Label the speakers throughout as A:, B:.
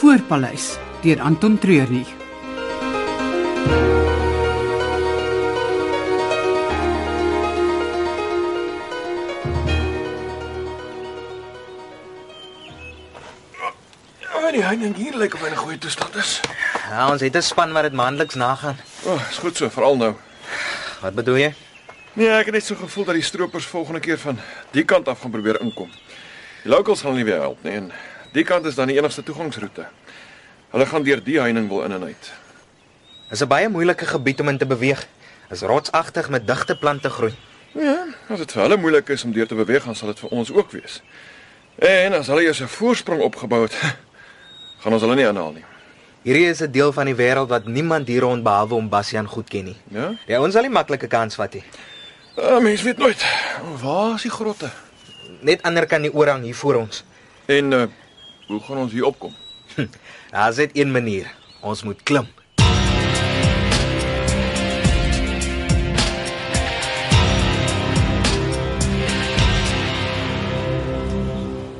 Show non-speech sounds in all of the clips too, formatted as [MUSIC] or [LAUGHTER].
A: Voorpaleis deur Anton Treurnig.
B: Ja, die heining hier lyk of hy in 'n goeie toestand is.
C: Ja, ons het 'n span wat dit maandeliks nagaan.
B: O, oh, is goed so, veral nou.
C: Wat bedoel jy?
B: Nee, ek het net so gevoel dat die stroopers volgende keer van die kant af gaan probeer inkom. Die locals gaan hulle nie weer help nie en die kant is dan die enigste toegangsroete. Hulle gaan deur die heining wil in en uit.
C: Dit is 'n baie moeilike gebied om in te beweeg. Dit is rotsagtig met digte plante groei.
B: Ja, as dit vir hulle moeilik is om deur te beweeg, dan sal dit vir ons ook wees. En as hulle eers 'n voorsprong opgebou het, [LAUGHS] gaan ons hulle nie aanhaal nie.
C: Hierdie is 'n deel van die wêreld wat niemand hier rond behalwe om Bastian goed ken nie.
B: Ja?
C: Ja, ons sal nie maklike kans vat nie.
B: Uh, mens weet nooit. Waar is die grotte?
C: Net ander kan die orang hier voor ons.
B: En uh, hoe gaan ons hier opkom?
C: Daar's net een manier. Ons moet klim.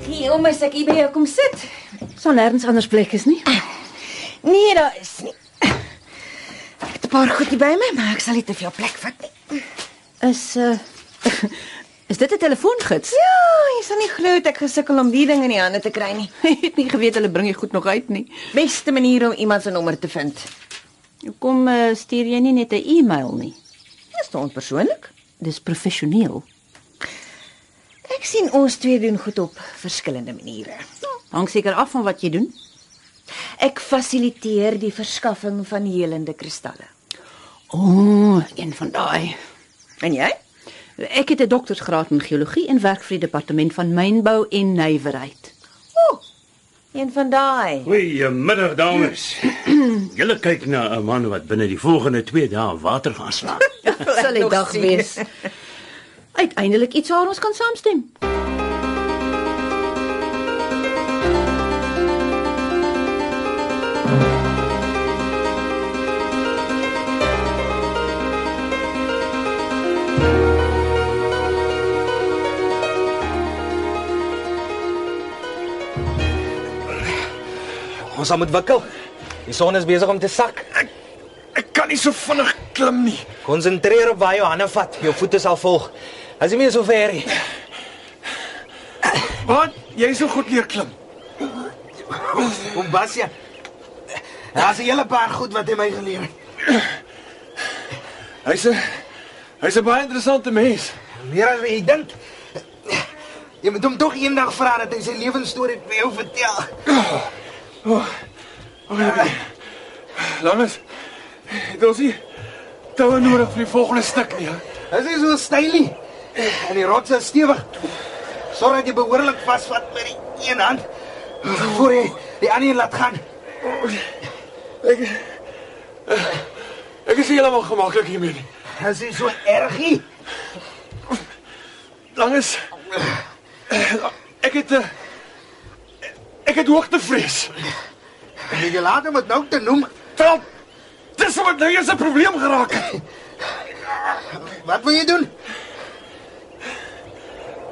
D: Gee om as ek hier by jou kom sit.
E: Sal nêrens anders plek is nie.
D: Nee, daar is nie. Ek het 'n paar goed hier by my, maar ek sal nie te veel plek vat nie.
E: Is uh [LAUGHS] Is dit 'n telefoongids?
D: Ja, jy sal nie glo dat ek gesukkel om die ding in die hande te kry
E: [LAUGHS]
D: nie.
E: Ek het nie geweet hulle bring die goed nog uit nie.
D: Beste manier om iemand se nommer te vind.
E: Hoekom uh, stuur jy nie net 'n e-mail nie?
D: Dis te onpersoonlik.
E: Dis professioneel.
D: Ek sien ons twee doen goed op verskillende maniere.
E: Hang seker af van wat jy doen.
D: Ek fasiliteer die verskaffing van helende kristalle.
E: O, oh, een van daai.
D: En jy?
E: Ek het 'n doktorsgraad in geologie en werk vir die departement van mynbou en nywerheid.
D: Een van daai.
F: Goeiemiddag dames. [CLEARS THROAT] Julle kyk na 'n man wat binne die volgende 2 dae water gaan slaap.
E: [LAUGHS] Sal die dag wees. Uiteindelik iets waar ons kan saamstem.
C: Ons sal moet wikkel. Die son is besig om te sak.
B: Ek kan nie so vinnig klim nie.
C: Konsentreer op waar jou hande vat. Jou voete sal volg. As jy meer so ver hier.
B: Wat? Jy sou goed leer klim.
C: Kom Bastian. Daar's 'n hele paar goed wat hy my geleer het.
B: Hy's 'n hy's 'n baie interessante mens.
C: Meer as wat jy dink. Jy moet hom tog eendag vra dat hy sy lewensstorie vir jou vertel.
B: Langes. Het ons nie toue nodig vir die volgende stuk nie. hè?
C: Dit is so stylie. En die rots is stewig. Sorg dat jy behoorlik vasvat met die een hand voor jy die ander laat gaan.
B: Ek Ek is nie heeltemal gemaklik hiermee nie.
C: Dit is so ergie.
B: Langes. Ek het 'n ek het hoogtevrees.
C: Jy laat hom dit nou te noem.
B: Wel, dis wat nou eens 'n probleem geraak het.
C: Wat wil jy doen?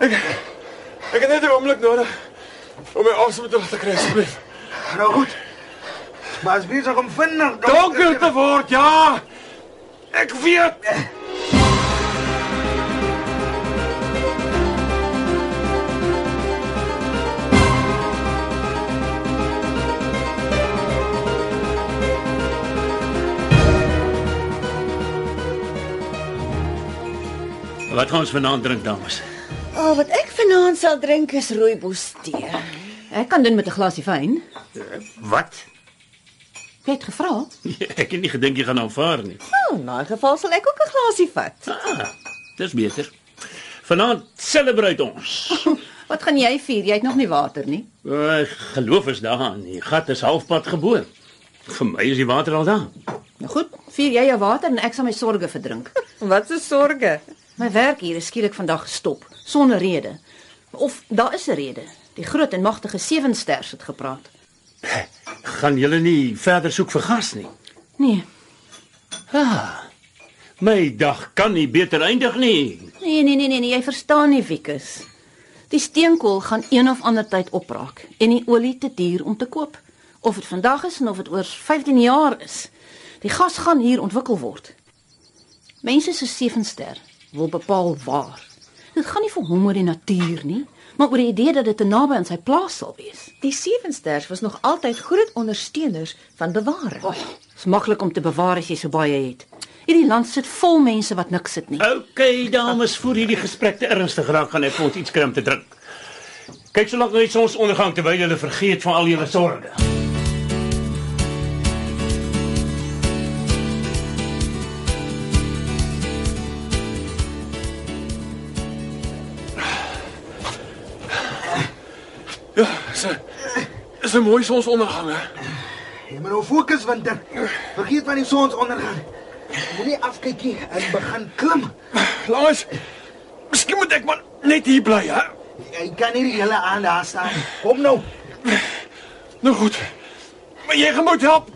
B: Ek het net 'n oomblik nodig om my asem terug te kry asseblief.
C: Nou goed. Maar as besig om vinnig
B: Donker te word, ja. Ek weet.
F: Wat gaan ons vanaand drink dames? [LAUGHS]
D: O, oh, wat ek vanaand sal drink is rooibos tee.
E: Ek kan doen met 'n glasie wyn.
F: Wat?
E: Jy het gevra.
F: Ja, Ek het nie gedink jy gaan aanvaar nie.
D: Nou, in 'n geval sal ek ook 'n glasie
E: [LAUGHS]
D: vat.
F: Ah, dis beter. Vanaand celebrate ons.
E: Wat gaan jy vier? Jy het nog nie water nie.
F: Ek geloof is daaraan. Die gat is halfpad geboor. Vir my is die water al daar.
E: Nou goed, vier jy jou water en ek sal my sorges verdrink.
D: Wat 'n sorge.
E: My werk hier is skielik vandag gestop sonder rede. Of daar is 'n rede. Die groot en magtige sewe sters het gepraat.
F: Gaan julle nie verder soek vir gas nie.
E: Nee,
F: My dag kan nie beter eindig nie.
E: nee, nee, nee, nee, nee jy verstaan nie Wikus. Die steenkool gaan een of ander tyd opraak en die olie te duur om te koop. Of dit vandag is en of dit oor 15 jaar is. Die gas gaan hier ontwikkel word. Mense soos Sevenster wil bepaal waar. Dit gaan nie vir hom oor die natuur nie, maar oor die idee dat dit te naby aan sy plaas sal wees.
G: Die Sevensters was nog altyd groot ondersteuners van bewaring.
E: Ag, oh, is maklik om te bewaar as jy so baie het. Hierdie land sit vol mense wat niks het nie.
F: Okay, dames, voor hierdie gesprek te ernstig raak, gaan ek vir ons iets kry om te drink. Kyk, solank nou iets ons ondergang terwyl julle vergeet van al julle sorges.
B: Ja, is 'n is 'n mooi sonsondergang hè.
C: Jy moet nou fokus winter. Vergeet van die sonsondergang. Moenie afkyk nie en begin klim.
B: Lars, miskien moet ek maar net hier bly hè.
C: Jy kan nie die hele aand daar staan. Kom nou.
B: Nou goed. Maar jy gaan my moet help.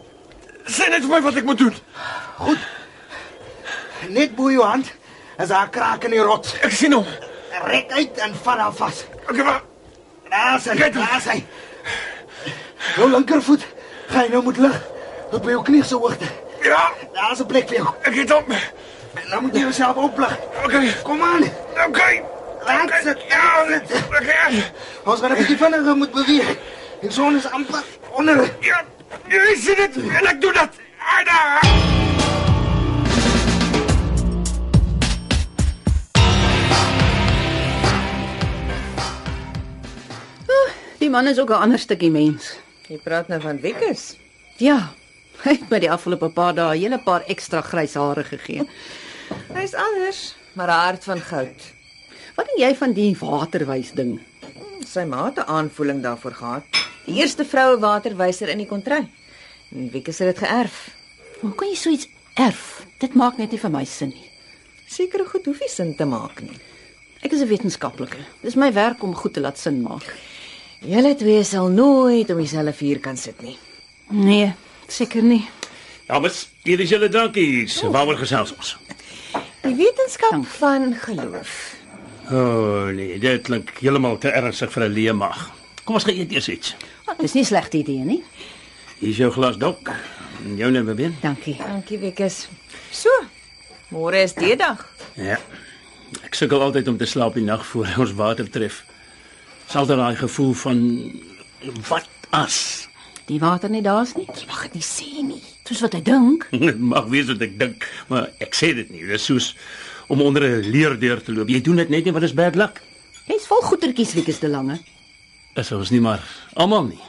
B: Sê net vir my wat ek moet doen.
C: Net bo jou hand is daar 'n kraak in die rots.
B: Ek sien hom.
C: Rek uit en vat haar vas.
B: Okay, maar
C: Daar's hy, daar's hy. Jou linkervoet gaan nou moet lig tot by jou knie se hoogte.
B: ja,
C: Daar's 'n plek vir jou.
B: ek het hom.
C: En
B: Nou
C: dan moet jy jouself oplig.
B: Okay.
C: Kom aan.
B: Okay.
C: Laat sit. Ja, sit.
B: Okay.
C: Ons gaan 'n bietjie vinniger moet beweeg. Die son is amper onder.
B: Ja, jy sien dit en ek doen dit. Ada.
E: Die man is ook 'n ander stukkie mens.
G: Jy praat nou van Wikus.
E: Ja. Hy het my die afgelope paar dae 'n hele paar ekstra grys hare gegee.
G: Hy's anders, maar 'n hart van goud.
E: Wat dink jy van die waterwys ding?
G: Sy ma het 'n aanvoeling daarvoor gehad. Die eerste vroue waterwyser in die kontry. En Wikus het dit geërf.
E: Hoe kan jy so iets erf? Dit maak net nie vir my sin nie.
G: Sekere goed hoef nie sin te maak nie.
E: Ek is 'n wetenskaplike. Dis my werk om goed te laat sin maak.
G: Julle twee sal nooit om dieselfde vuur kan sit nie.
E: Nee, seker nie.
F: Dames, hier is julle drankies. Waaroor gesels ons?
G: Die wetenskap
E: Dank.
G: van geloof.
F: O oh, nee, dit klink heeltemal te ernstig vir 'n leë maag. Kom ons gaan eet eers iets.
E: Dis nie 'n slegte idee nie.
F: Hier is jou glas dok. En Jou neem weer.
E: Dankie.
G: Dankie Wikus. So, môre is die dag.
F: Ja. Ek sukkel altyd om te slaap die nag voor ons water tref. Sal daai gevoel van wat as
E: Die water nie daar's nie.
G: Jy mag dit nie sê nie.
E: Soos wat hy dink.
F: Dit [LAUGHS] mag wees wat ek dink, maar ek sê dit nie. Dit is soos om onder 'n leerdeur te loop. Jy doen dit net nie want dit is bad luck.
E: Hy's vol goetertjies wiekies te lange.
F: Is ons nie maar almal nie.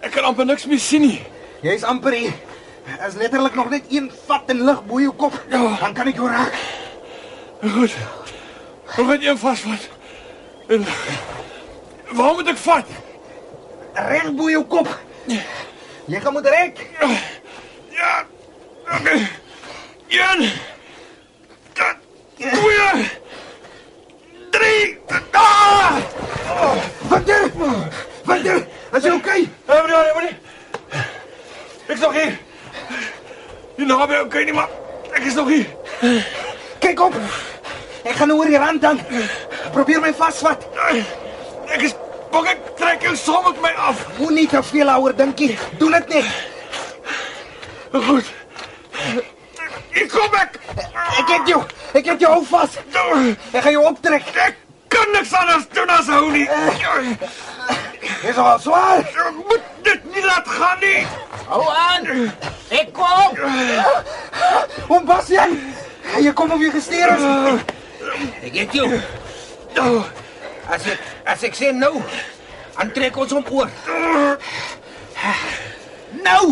B: Ek kan amper niks meer sien nie.
C: Jy's amper hier. As letterlik nog net een vat en lig bo jou kop, dan kan ek jou raak.
B: Goed. Hoe gaan jy vasvat? En waar moet ek vat?
C: Reg bo jou kop. Jy gaan moet rek.
B: Ja. Okay. Een. Dat. Twee. Drie. Ah!
C: Winter! Winter, is jy okay?
B: Hou maar, hou maar. Ek's nog hier. Jy nou baie okay nie, maar ek is nog hier.
C: Kyk op. Ek gaan oor die rand dan. Probeer my vasvat.
B: Ek Eh, is bang ek trek jou saam met my af.
C: Moenie te veel ouer dinkie. Doen dit net.
B: Goed. Ek kom ek.
C: Ek het jou. Ek het jou hou vas. Ek gaan jou optrek.
B: Ek kan niks anders doen as hou nie. Ek
C: Dis al swaar.
B: moet dit nie laat gaan nie.
C: Hou aan. Ek kom. Om Bastian. Jy kom op jou gesteer ons.
H: Ek het jou.
B: Nou,
H: As ek as ek sê nou, aantrek ons om oor. Nou.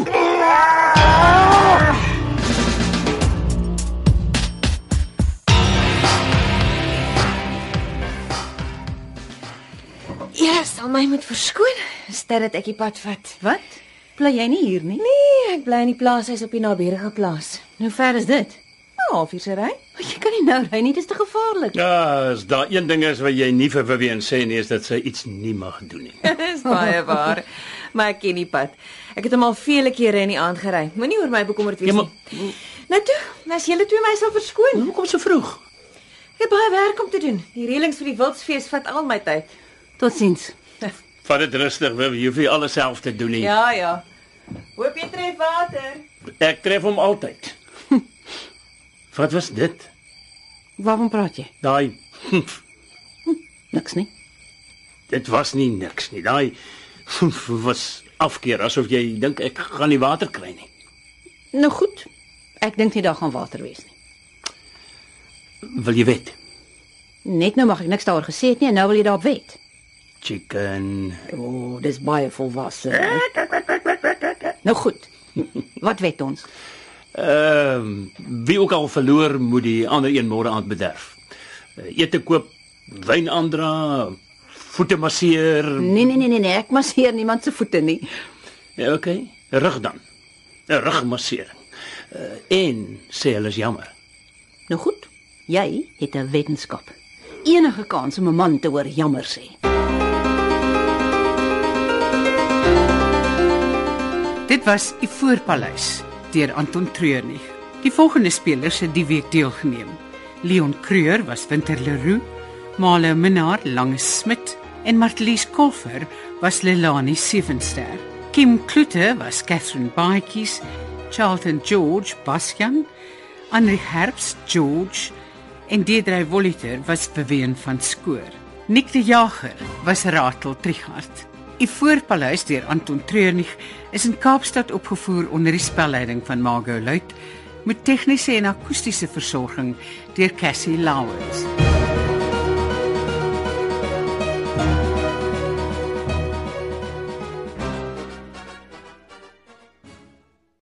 G: Jy sal my moet verskoon, stel dit ek die pad vat.
E: Wat? Bly jy nie hier nie?
G: Nee, ek bly in die plaas, hy's op die naburige plaas.
E: Hoe ver is dit?
G: Nou, halfuur se ry.
E: Want jy kan nie nou ry nie, dis te gevaarlik.
F: Ja, as daar
G: [LAUGHS]
F: een ding is wat jy nie vir Vivian sê nie, is dat sy iets nie mag doen nie.
G: Dis baie waar. maar ek ken die pad. Ek het hom al vele kere in die aand gery. Moenie oor my bekommerd wees
F: Ja, maar-
G: nie. Nou toe, as julle twee my sal verskoon.
F: Hoekom so vroeg?
G: Ek het baie werk om te doen. Die reëlings vir die wildsfees vat al my tyd.
E: Totsiens.
F: Vat dit rustig, Wim, jy hoef nie alles self te doen nie.
G: Ja, ja. Hoop jy tref water.
F: Ek tref hom altyd. [LAUGHS] Wat was dit?
E: Waarvan praat jy?
F: Daai [LAUGHS]
E: Niks nie.
F: dit was nie niks nie. Daai [LAUGHS] was afkeer asof jy dink ek gaan nie water kry nie.
E: Nou goed. Ek dink nie daar gaan water wees nie.
F: Wil jy weet?
E: Net nou mag ek niks daaroor gesê het nie en nou wil jy daarop weet.
F: Chicken.
E: O, oh, dis baie volwasse. hè? nou goed. Wat weet ons?
F: Ehm wie ook al verloor moet die ander een môre aand bederf. Eh, Ete koop, wyn aandra, voete masseer.
E: Nee nee nee nee, nee. ek masseer niemand se voete nie.
F: Ja, okay. Rug dan. 'n Rugmassering. Uh, en sê hulle is jammer.
E: Nou goed. Jy het 'n wetenskap. Enige kans om 'n man te hoor jammer sê.
A: Dit was Ivoorpaleis deur Anton Treurnig. Die volgende spelers het die week deelgeneem. Leon Creur was Winter Leroux, Male Minnar Lange Smit en Martlies Koffer was Lelani Sevenster. Kim Klute was Catherine Baatjies, Charlton George Basjan, Anri Herbst George en Deidre Wolliter was Beween van Skoor. Nick die Jager was Ratel Trigard. Die voorpaleis deur Anton Treurnig is in Kaapstad opgevoer onder die spelleiding van Margot Luit met tegniese en akoestiese versorging deur Cassie Lawrence.